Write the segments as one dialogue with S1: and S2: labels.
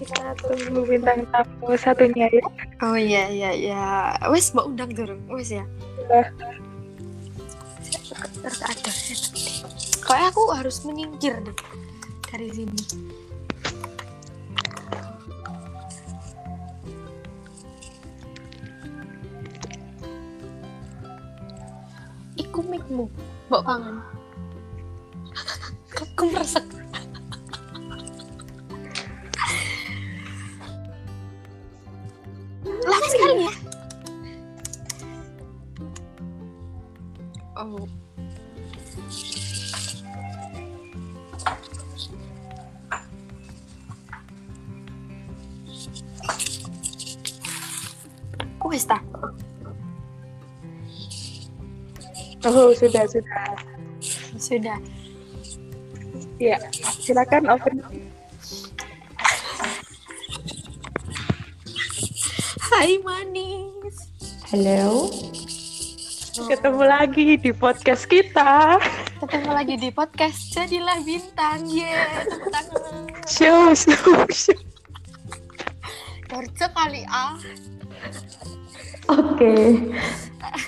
S1: satu bintang tamu satunya ya.
S2: Oh iya iya iya. Wes mbok undang durung. Wes ya.
S1: Udah.
S2: Terus ada. Kayak aku harus menyingkir deh dari sini. Iku mikmu, mbok pangan. Aku meresek. Lama sekarang ya? Oh. Oh, wis tak.
S1: Oh sudah sudah.
S2: Sudah.
S1: Ya silakan open.
S2: Hai manis.
S3: Halo,
S1: Ketemu lagi di podcast kita.
S2: Ketemu lagi di podcast Jadilah Bintang. Ye, tepuk tangan.
S1: Show show show.
S2: Dorce kali ah.
S3: oke.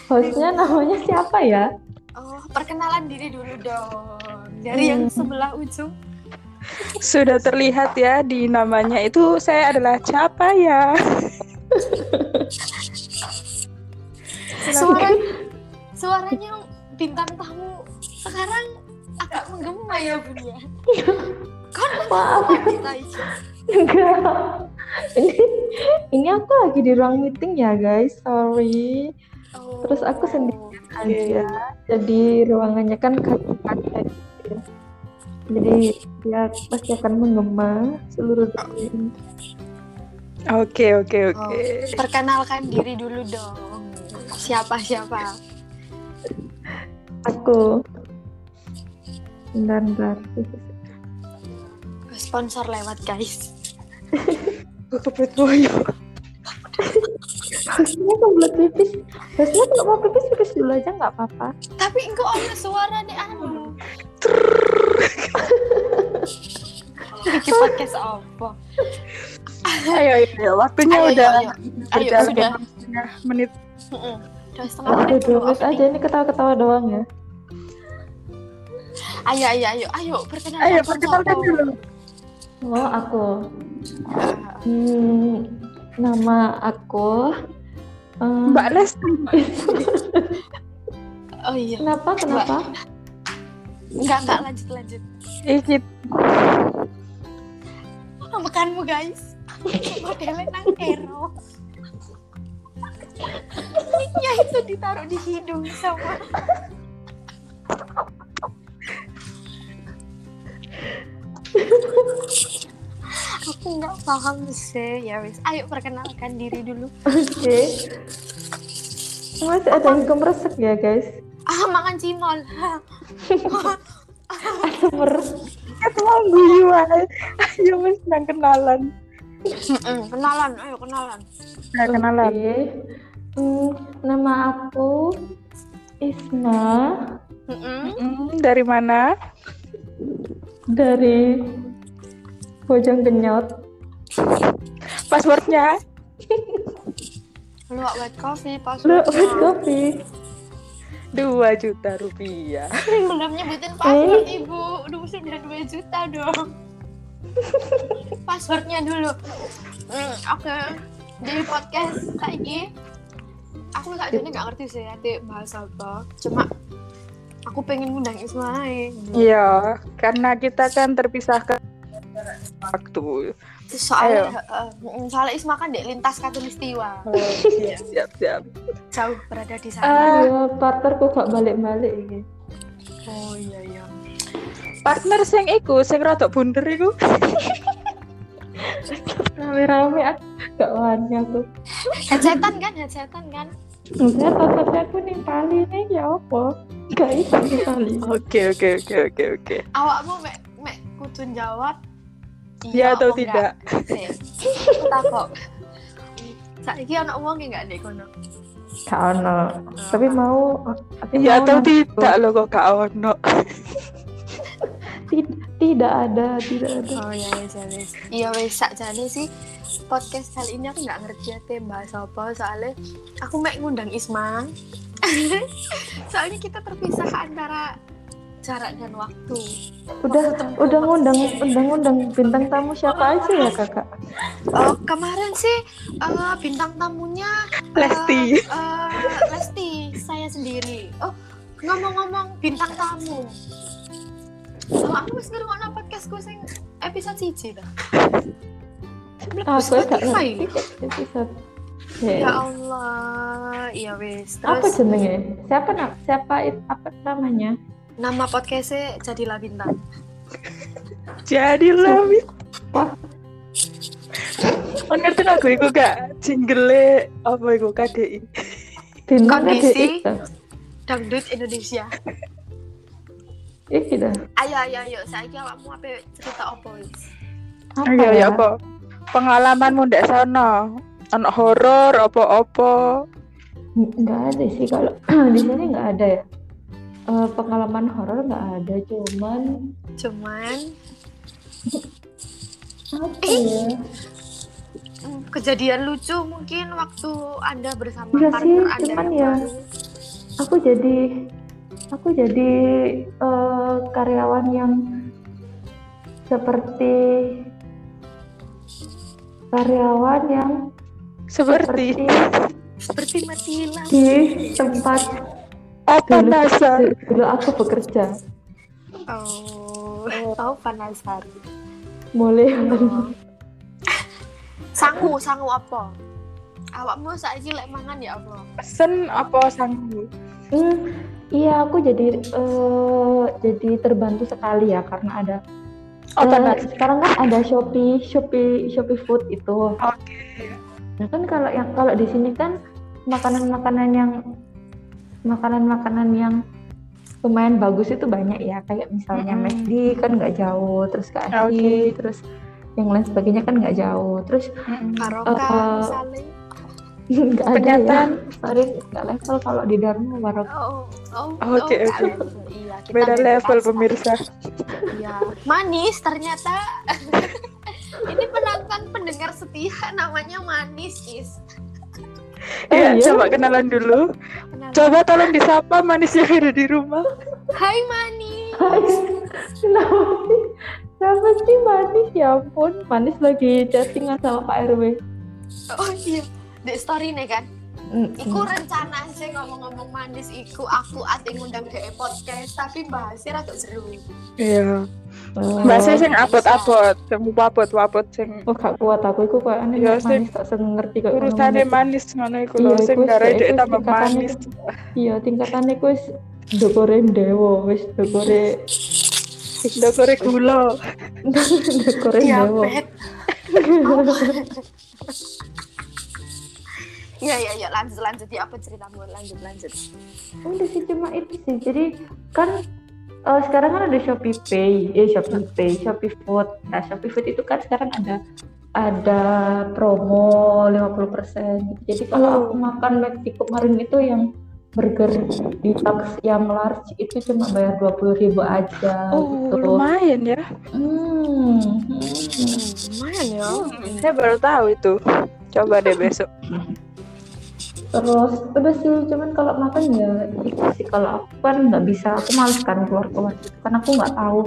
S3: Hostnya namanya siapa ya?
S2: Oh, perkenalan diri dulu dong. Dari yang sebelah ujung.
S1: Sudah terlihat ya di namanya itu saya adalah Capa ya.
S2: Suara suaranya bintang tamu sekarang agak menggema ya, Bun ya. Kan
S3: Maaf, enggak. Ini, ini aku lagi di ruang meeting ya guys, sorry. Terus
S2: Oh,
S3: aku sendiri. Aja. Jadi ruangannya kan kaca-kaca gitu ya. Jadi dia pasti akan menggema seluruh dunia.
S1: Oke oke
S2: Oh,
S1: oke.
S2: perkenalkan diri dulu dong. Siapa siapa?
S3: Aku. Bentar, bentar.
S2: Sponsor lewat guys.
S1: Gue kebelet boyo.
S3: Hostnya kebelet pipis. Hostnya kalau mau pipis, pipis dulu aja nggak apa-apa.
S2: Tapi engkau ada suara nih anu. Bikin podcast apa?
S1: Ayo ayo Ya, waktunya
S2: Ayo,
S1: udah.
S2: ayo, Ayo
S1: udah
S2: sudah.
S1: setengah menit.
S2: Mm-mm. Udah setengah
S3: Aku
S2: menit dulu.
S3: duduk aja, ini ketawa-ketawa doang ya.
S2: Ayo ayo ayo ayo perkenalkan.
S1: Ayo
S2: sponsor
S1: perkenalkan
S2: dong.
S1: dulu.
S3: Oh, aku. Hmm, nama aku. eh,
S1: Mbak Lesti.
S2: Oh iya.
S3: Kenapa? Kenapa?
S2: Enggak enggak lanjut lanjut.
S1: Iki
S2: Oh, makanmu guys. Modelnya nang ero. Mic-nya Iya, itu ditaruh di hidung sama. Aku nggak paham sih ya wis. Ayo perkenalkan diri dulu.
S3: Oke. Oh, Masih ada yang kemeresek ya, guys?
S2: Ah makan cimol. Hah.
S3: Ada meres-
S1: Aku mau guyu ae. Ayo wis nang kenalan.
S2: Mm-mm, kenalan, ayo kenalan.
S1: Nah, kenalan.
S3: Oke. Hmm, nama aku Isna
S2: Mm-mm.
S1: Mm, dari mana?
S3: dari Bojong Kenyot.
S1: Passwordnya?
S2: Luwak wet coffee pas.
S3: Lu buat
S1: Ah.
S3: kopi.
S1: Dua juta rupiah.
S2: belum nyebutin password
S1: Hmm?
S2: ibu udah sudah 2 juta dong passwordnya dulu Hmm, oke dari podcast lagi aku tak jadi nggak ngerti sih nanti bahas apa cuma aku pengen ngundang Ismail
S1: Iya, karena kita kan terpisahkan waktu.
S2: soalnya eh, eh, soalnya Ismail kan di lintas katulistiwa
S3: Iya.
S1: siap, siap, siap.
S2: jauh berada di sana
S1: Ah,
S3: Ya, partnerku gak balik-balik ini.
S2: oh iya iya
S1: partner sing iku, sing rodok bunder iku.
S3: Rame-rame aku gak wani aku.
S2: headsetan kan headsetan kan
S3: Saya tetep aku nih Bali nih ya apa? Gak iso nih Bali.
S1: Oke, oke, oke, oke, oke.
S2: awakmu mek mek kudu jawab
S1: Iya atau
S2: apa
S1: tidak?
S2: enggak? Nih, aku takok saiki ana wong ki enggak ndek kono
S3: Gak ono. Tapi mau aku
S1: Iya
S3: mau
S1: atau
S3: nanti.
S1: tidak lo kok gak ono.
S3: Tid- tidak ada, tidak ada.
S2: oh ya wis ya wis iya wis sakjane sih podcast kali ini aku nggak ngerti ya teh bahas apa soalnya aku mau ngundang Isma soalnya kita terpisah antara jarak dan waktu
S3: Udah udah ngundang udah ngundang bintang tamu siapa aja ya kakak?
S2: oh, kemarin sih eh, bintang tamunya eh,
S1: Lesti.
S2: eh, Lesti saya sendiri oh ngomong-ngomong bintang tamu oh, aku harus ngerungokno podcastku sing episode siji dah
S3: Aku ya gak
S2: Spotify.
S3: ngerti kok episode.
S2: ya
S3: Ya.
S2: Allah ya wes
S3: Apa
S2: terus
S3: jenenge? Siapa na- siapa it- apa namanya?
S2: nama podcastnya jadilah bintang
S1: Jadi lebih. Oh, ngerti nggak gue iku gak jingle apa iku KDI.
S3: Bintangnya
S2: Kondisi.
S3: DI.
S2: dangdut Indonesia.
S3: Iki dah.
S2: Ayo ayo ayo, saiki awakmu apa cerita opo wis?
S3: Apa
S1: Iya
S3: ya?
S1: ya apa? Pengalamanmu ndak sono. Anak horor apa-apa.
S3: Nggak ada sih kalau di sini nggak ada ya. Eh, pengalaman horor nggak ada cuman
S2: Cuman
S3: apa ya?
S2: mm, kejadian lucu mungkin waktu Anda bersama
S3: Iya sih,
S2: partner Anda.
S3: cuman
S2: yang
S3: ya.
S2: baru.
S3: aku jadi aku jadi eh, karyawan yang seperti karyawan yang
S1: Seperti
S3: seperti
S2: seperti mati lampu.
S3: di tempat
S1: apa
S3: dulu,
S1: NASA?
S3: dulu aku bekerja
S2: Oh, tahu penasaran.
S3: boleh
S2: sangu, sangu apa? Awakmu saiki lek mangan ya Allah.
S1: Pesen apa sanggup?
S3: Hmm, iya aku jadi eh, jadi terbantu sekali ya karena ada
S1: Apa
S3: eh,
S1: NASA?
S3: sekarang kan ada Shopee Shopee Shopee Food itu
S1: Oke.
S3: Nah kan kalau yang kalau di sini kan makanan-makanan yang makanan-makanan yang lumayan bagus itu banyak ya kayak misalnya
S1: Mm-mm.
S3: McD kan nggak jauh terus KFC
S1: Oke.
S3: terus yang lain sebagainya kan nggak jauh terus
S2: Karoka
S3: Eh,
S2: misalnya.
S3: nggak ada ya
S1: Penyataan.
S3: sorry nggak level kalau di Dharma Warok
S2: Oh, oh,
S1: Oke,
S2: oh,
S1: oke.
S2: Iya, kita
S1: Beda
S2: beda
S1: level
S2: kasta.
S1: pemirsa.
S2: Iya, manis ternyata. Ini penonton pendengar setia namanya Manis, Is.
S1: Ya,
S3: iya.
S1: coba kenalan dulu.
S2: Kenalan.
S1: Coba tolong disapa manis yang ada di rumah.
S2: Hai Manis.
S3: Hai, kenapa sih kenapa sih manis ya ampun manis lagi chattingan sama Pak RW
S2: Oh iya, di story nih kan.
S3: Mm-mm.
S1: Hmm.
S2: Iku rencana sih ngomong-ngomong Manis iku aku ati ngundang DE podcast tapi bahasnya rada seru.
S1: Iya.
S3: Oh.
S1: Mbak saya sing abot-abot, sing wabot-wabot sing
S3: Oh gak kuat aku itu kayak aneh
S1: Ya, sih.
S3: manis tak seneng ngerti kok
S1: urusannya manis ngono iku lho,
S3: Oh. Iya,
S1: sing
S3: iku
S1: garai
S3: sih,
S1: dhek
S3: iku
S1: tambah
S3: tingkatannya
S1: manis.
S3: Iya tingkatannya ku wis dokore dewa wis dokore
S1: Dokore gula.
S3: dokore
S1: Ya,
S3: dewa.
S2: Diabet. Iya, iya, iya, lanjut, lanjut, ya, apa ceritamu, lanjut, lanjut.
S3: Udah sih cuma itu sih. Jadi kan eh, sekarang kan ada Shopee Pay, eh Shopee Pay, Shopee Food. Nah Shopee Food itu kan sekarang ada ada promo 50% gitu. Jadi kalau
S1: Oh.
S3: aku makan McD kemarin itu yang burger di box yang large itu cuma bayar 20.000 aja
S1: Oh,
S3: gitu.
S1: lumayan ya.
S3: Hmm. hmm.
S2: Lumayan ya.
S1: Hmm, Saya baru tahu itu. Coba deh besok.
S3: Terus udah sih, cuman kalau makan ya itu sih kalau aku kan nggak bisa, aku males kan keluar keluar gitu. Karena aku nggak tahu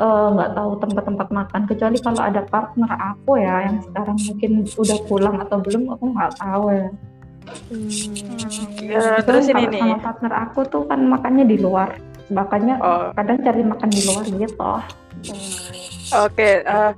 S3: eh, nggak tahu tempat-tempat makan kecuali kalau ada partner aku ya yang sekarang mungkin udah pulang atau belum aku nggak tahu ya.
S1: Ya,
S3: Cuman
S1: Hmm, terus ini
S3: kalau
S1: nih.
S3: sama partner aku tuh kan makannya di luar, makanya
S1: Oh,
S3: kadang cari makan di luar gitu.
S1: oke. eh,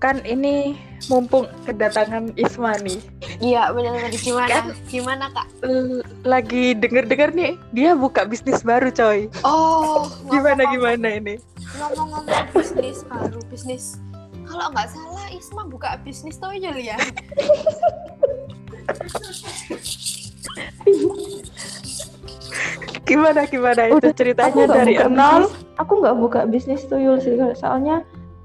S1: kan ini mumpung kedatangan Isma nih.
S2: Iya benar-benar gimana?
S1: Kan?
S2: Gimana kak?
S1: L- Eh, Lagi denger-denger nih, dia buka bisnis baru coy.
S2: Oh
S1: Gimana
S2: ngomong-
S1: gimana ini?
S2: Ngomong-ngomong bisnis baru bisnis. Kalau nggak salah Isma buka bisnis tau aja ya.
S1: Gimana gimana itu
S3: Udah,
S1: ceritanya
S3: nggak
S1: dari
S3: buka
S1: nol?
S3: bisnis- aku nggak buka bisnis tuyul sih Kak. soalnya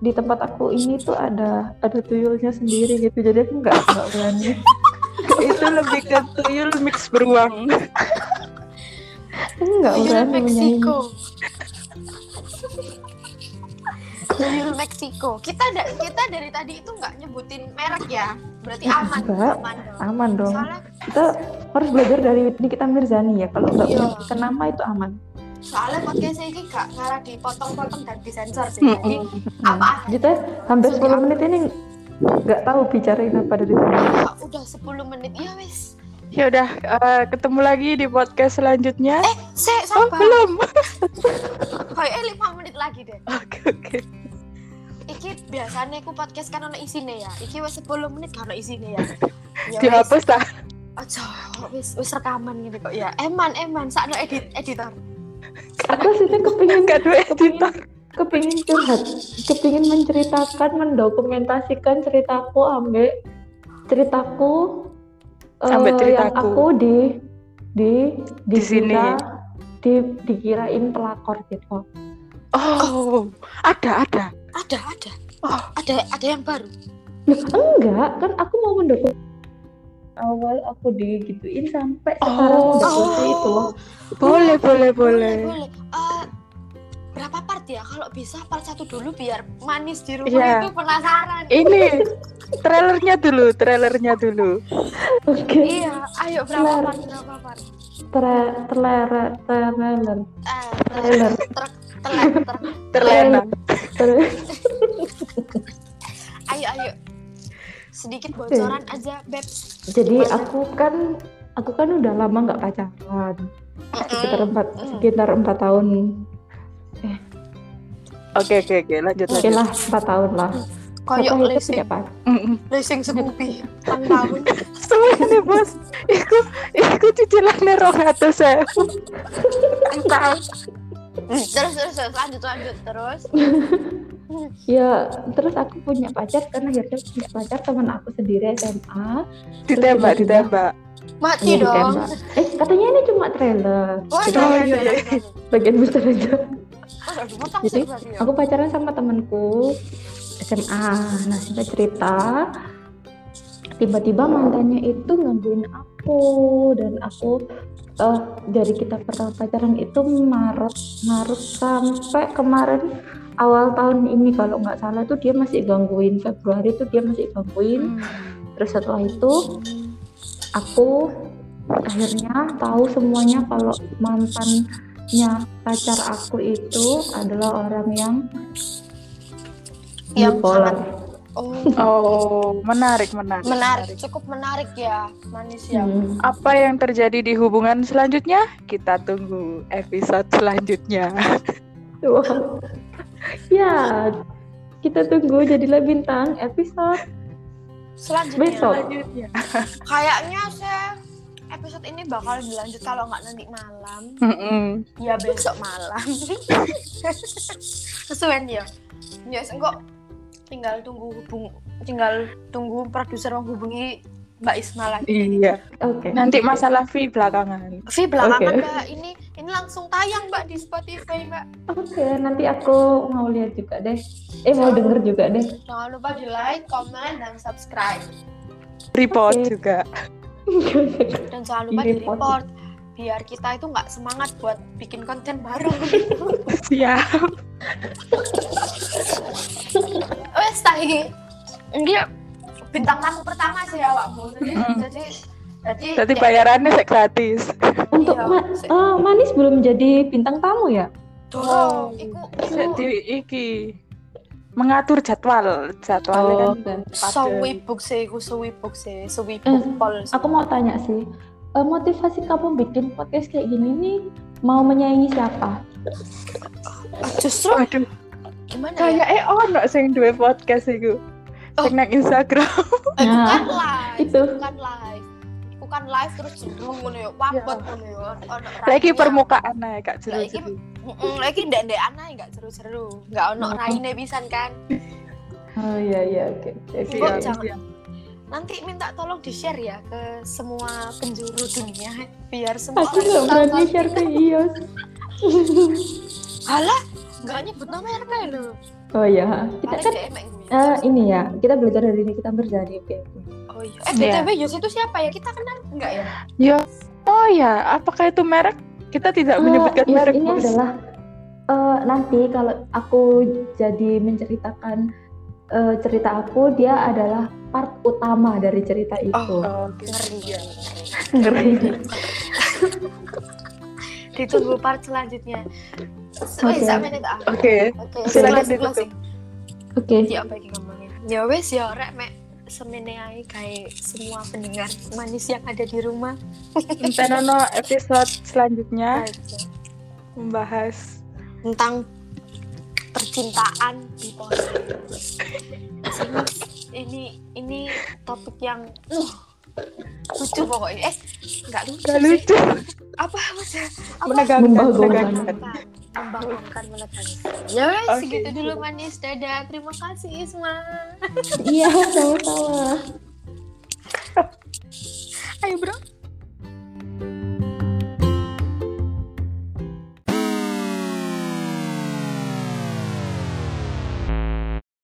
S3: di tempat aku ini tuh ada ada tuyulnya sendiri gitu jadi aku nggak nggak berani
S1: itu lebih ke tuyul mix beruang.
S3: aku nggak
S1: Iya,
S2: Tuyul
S3: berani menyanyi
S2: Meksiko. Del Mexico. Kita da- kita dari tadi itu nggak nyebutin merek ya. Berarti aman.
S3: Nggak.
S2: aman dong.
S3: aman dong
S2: Soalnya,
S3: kita harus belajar dari Nikita Mirzani ya kalau nggak
S2: Iya.
S3: punya nama itu aman
S2: soalnya podcast ini nggak ngarah dipotong-potong dan disensor sih.
S1: Mm-mm.
S2: Jadi
S3: Hmm.
S2: apa adanya.
S3: kita hampir
S2: Langsung
S3: 10 menit ini nggak tahu bicarain apa dari tadi
S2: Ya, udah 10 menit. Ya wis.
S1: Ya udah, eh, ketemu lagi di podcast selanjutnya.
S2: Eh, se
S1: oh,
S2: sabar.
S1: belum.
S2: Kayaknya 5 menit lagi deh.
S1: Oke, oke.
S2: Iki biasanya aku podcast kan ono isine ya. Iki wis 10 menit gak ono isine ya. Ya wis.
S1: Dihapus lah.
S2: Aja, wis wis rekaman gitu kok ya. Eman, eman, sakno edit editor.
S3: aku sih kepingin
S1: Enggak duit editor.
S3: kepingin curhat kepingin menceritakan mendokumentasikan ceritaku ambek ceritaku eh,
S1: Ambek
S3: yang
S1: ceritaku.
S3: aku di di
S1: Di sini.
S3: dikira- di dikirain pelakor gitu
S1: Oh, ada, ada.
S2: Ada, ada.
S1: Oh.
S2: Ada ada yang baru.
S3: Loh, enggak kan aku mau mendokumen awal aku digituin sampai sekarang
S1: Oh.
S3: udah selesai itu
S1: Boleh, boleh, boleh.
S2: boleh. Eh, berapa part ya? Kalau bisa part satu dulu biar manis di rumah
S1: Iya.
S2: itu penasaran.
S1: Ini trailernya dulu, trailernya dulu.
S3: oke
S2: iya, ayo berapa
S3: Benar.
S2: part? Berapa part?
S3: Tra- trailer trailer
S2: Eh,
S3: Trailer.
S2: truk, telat, truk.
S1: Terlena.
S3: trailer
S2: Ayo, ayo. Sedikit bocoran aja, Beb.
S3: Jadi aku kan aku kan udah lama nggak pacaran. Sekitar empat sekitar empat tahun.
S1: Oke, oke, oke. Lanjut,
S3: Oke
S1: lanjut.
S3: lah empat tahun lah.
S2: Koyok
S3: Setelah itu
S2: leasing,
S3: tidak pacaran.
S1: Mm-mm.
S2: leasing Scoopy. Tang tahun.
S1: Semuanya nih, kan ya, bos. Iku, iku cicilannya rong atus ya.
S2: Entah. terus, terus, terus, lanjut, lanjut, terus.
S3: Ya terus aku punya pacar kan akhirnya punya pacar teman aku sendiri SMA.
S1: Ditembak, ditembak.
S2: Mati
S3: Iya
S2: dong.
S3: ditembak. Eh katanya ini cuma trailer.
S2: Wah,
S1: Oh, iya,
S2: jangan,
S1: iya.
S2: jangan, jangan.
S3: Bagian besar aja.
S2: Aduh, motong
S3: ya. Jadi,
S2: sih, berarti ya.
S3: Aku pacaran sama temanku SMA. Nah singkat cerita tiba-tiba mantannya itu gangguin aku dan aku eh, dari kita pertama pacaran itu Maret Maret sampai kemarin awal tahun ini kalau nggak salah tuh dia masih gangguin Februari tuh dia masih gangguin
S1: Mm.
S3: terus setelah itu aku akhirnya tahu semuanya kalau mantannya pacar aku itu adalah orang yang
S2: Yang
S3: bipolar.
S2: Oh,
S1: Oh, menarik, menarik.
S2: menarik cukup menarik ya manusia
S3: Hmm.
S1: Apa yang terjadi di hubungan selanjutnya? Kita tunggu episode selanjutnya.
S3: Wow. Hmm. ya, kita tunggu jadilah bintang episode
S2: selanjutnya
S3: besok.
S1: Selanjutnya.
S2: kayaknya saya episode ini bakal dilanjut kalau nggak nanti malam
S1: Mm-mm.
S2: ya besok malam kesuwen ya ya enggak tinggal tunggu hubung tinggal tunggu produser menghubungi Mbak Isma lagi
S1: Iya.
S3: Oke.
S1: Nanti masalah fee belakangan.
S2: Vi belakangan
S3: Oke.
S2: Mbak ini ini langsung tayang Mbak di Spotify Mbak
S3: Oke, nanti aku mau lihat juga deh. Eh mau denger juga deh.
S2: jangan lupa di like comment dan subscribe
S1: Report
S3: Oke.
S1: juga.
S2: dan jangan lupa di
S3: Di-report.
S2: report biar kita itu nggak semangat buat bikin konten baru
S1: Siap.
S2: wes tahi ini bintang tamu pertama sih awakmu jadi
S1: Mm.
S2: jadi jadi
S1: Nanti
S2: ya,
S1: bayarannya saya gratis.
S3: Untuk
S2: Iya,
S3: ma-
S2: sih.
S3: eh, manis belum jadi bintang tamu ya?
S2: dorong Oh, iku
S1: Sik
S2: iku
S1: di- iki mengatur jadwal jadwalnya kan
S3: kan.
S2: sewibuk sih iku sewibuk sih
S3: Eh,
S2: sewibuk pol
S3: Aku mau tanya sih, eh, motivasi kamu bikin podcast kayak gini nih mau menyaingi siapa?
S2: Ah, justru
S1: waduh
S2: gimana ya
S1: kayak eh ono sing duwe podcast iku sing nang Instagram
S2: Eh,
S3: Nah,
S2: bukan live
S3: itu.
S2: bukan live Iku kan live terus jendrung ngono ya wabot ngono ya ono
S1: lagi
S2: rainya.
S1: permukaan nah, ae gak jeru
S2: Lah, iki- Mm-mm, lagi ndak ndak anak nggak seru-seru nggak ono raine pisan kan
S3: Oh iya iya oke oke, oke.
S2: Kok
S1: Iya,
S2: jangan-
S1: iya.
S2: nanti minta tolong di share ya ke semua penjuru dunia biar semua
S3: Aku nggak
S2: tahu
S3: berani
S2: kalau-
S3: share ke Ios.
S2: Alah, nggak nyebut nama ya, RK lo.
S3: oh iya, kita
S2: Paling
S3: kan
S2: DM gue.
S3: eh, ini ya kita belajar dari ini kita berjari. Oke. oke.
S2: Oh iya. Eh
S1: Iya.
S2: BTW Yos itu siapa ya? Kita kenal nggak ya?
S1: ya oh ya iya. apakah itu merek kita tidak
S3: Eh,
S1: menyebutkan
S3: Yos
S1: merek
S3: Eh, iya, ini
S1: Bos.
S3: adalah eh, nanti kalau aku jadi menceritakan eh, cerita aku, dia adalah part utama dari cerita itu.
S1: Oh, Oke.
S2: Ngeri.
S1: Iya.
S3: Ngeri.
S2: Ditunggu part selanjutnya.
S3: Oke.
S2: Wes, sampe nek tak.
S1: Oke.
S2: ah. Oke,
S1: Silakan
S2: close, close.
S1: ditutup.
S3: Oke.
S2: Jadi apa yang ngomongin? Ya wes ya rek mek semene ae kayak semua pendengar manis yang ada di rumah.
S1: Tenono episode selanjutnya
S2: Aja.
S1: membahas
S2: tentang percintaan di pos. ini ini topik yang uh, lucu pokoknya. Eh, nggak lucu.
S1: gak
S2: sih.
S1: lucu
S2: Apa maksudnya? Apa?
S1: menegangkan
S3: Membagongkan.
S1: menegangkan.
S2: Membangkangkan menegangkan. Ya wes,
S1: Oke.
S2: segitu dulu manis dadah. Terima kasih Isma.
S3: Iya, sama-sama.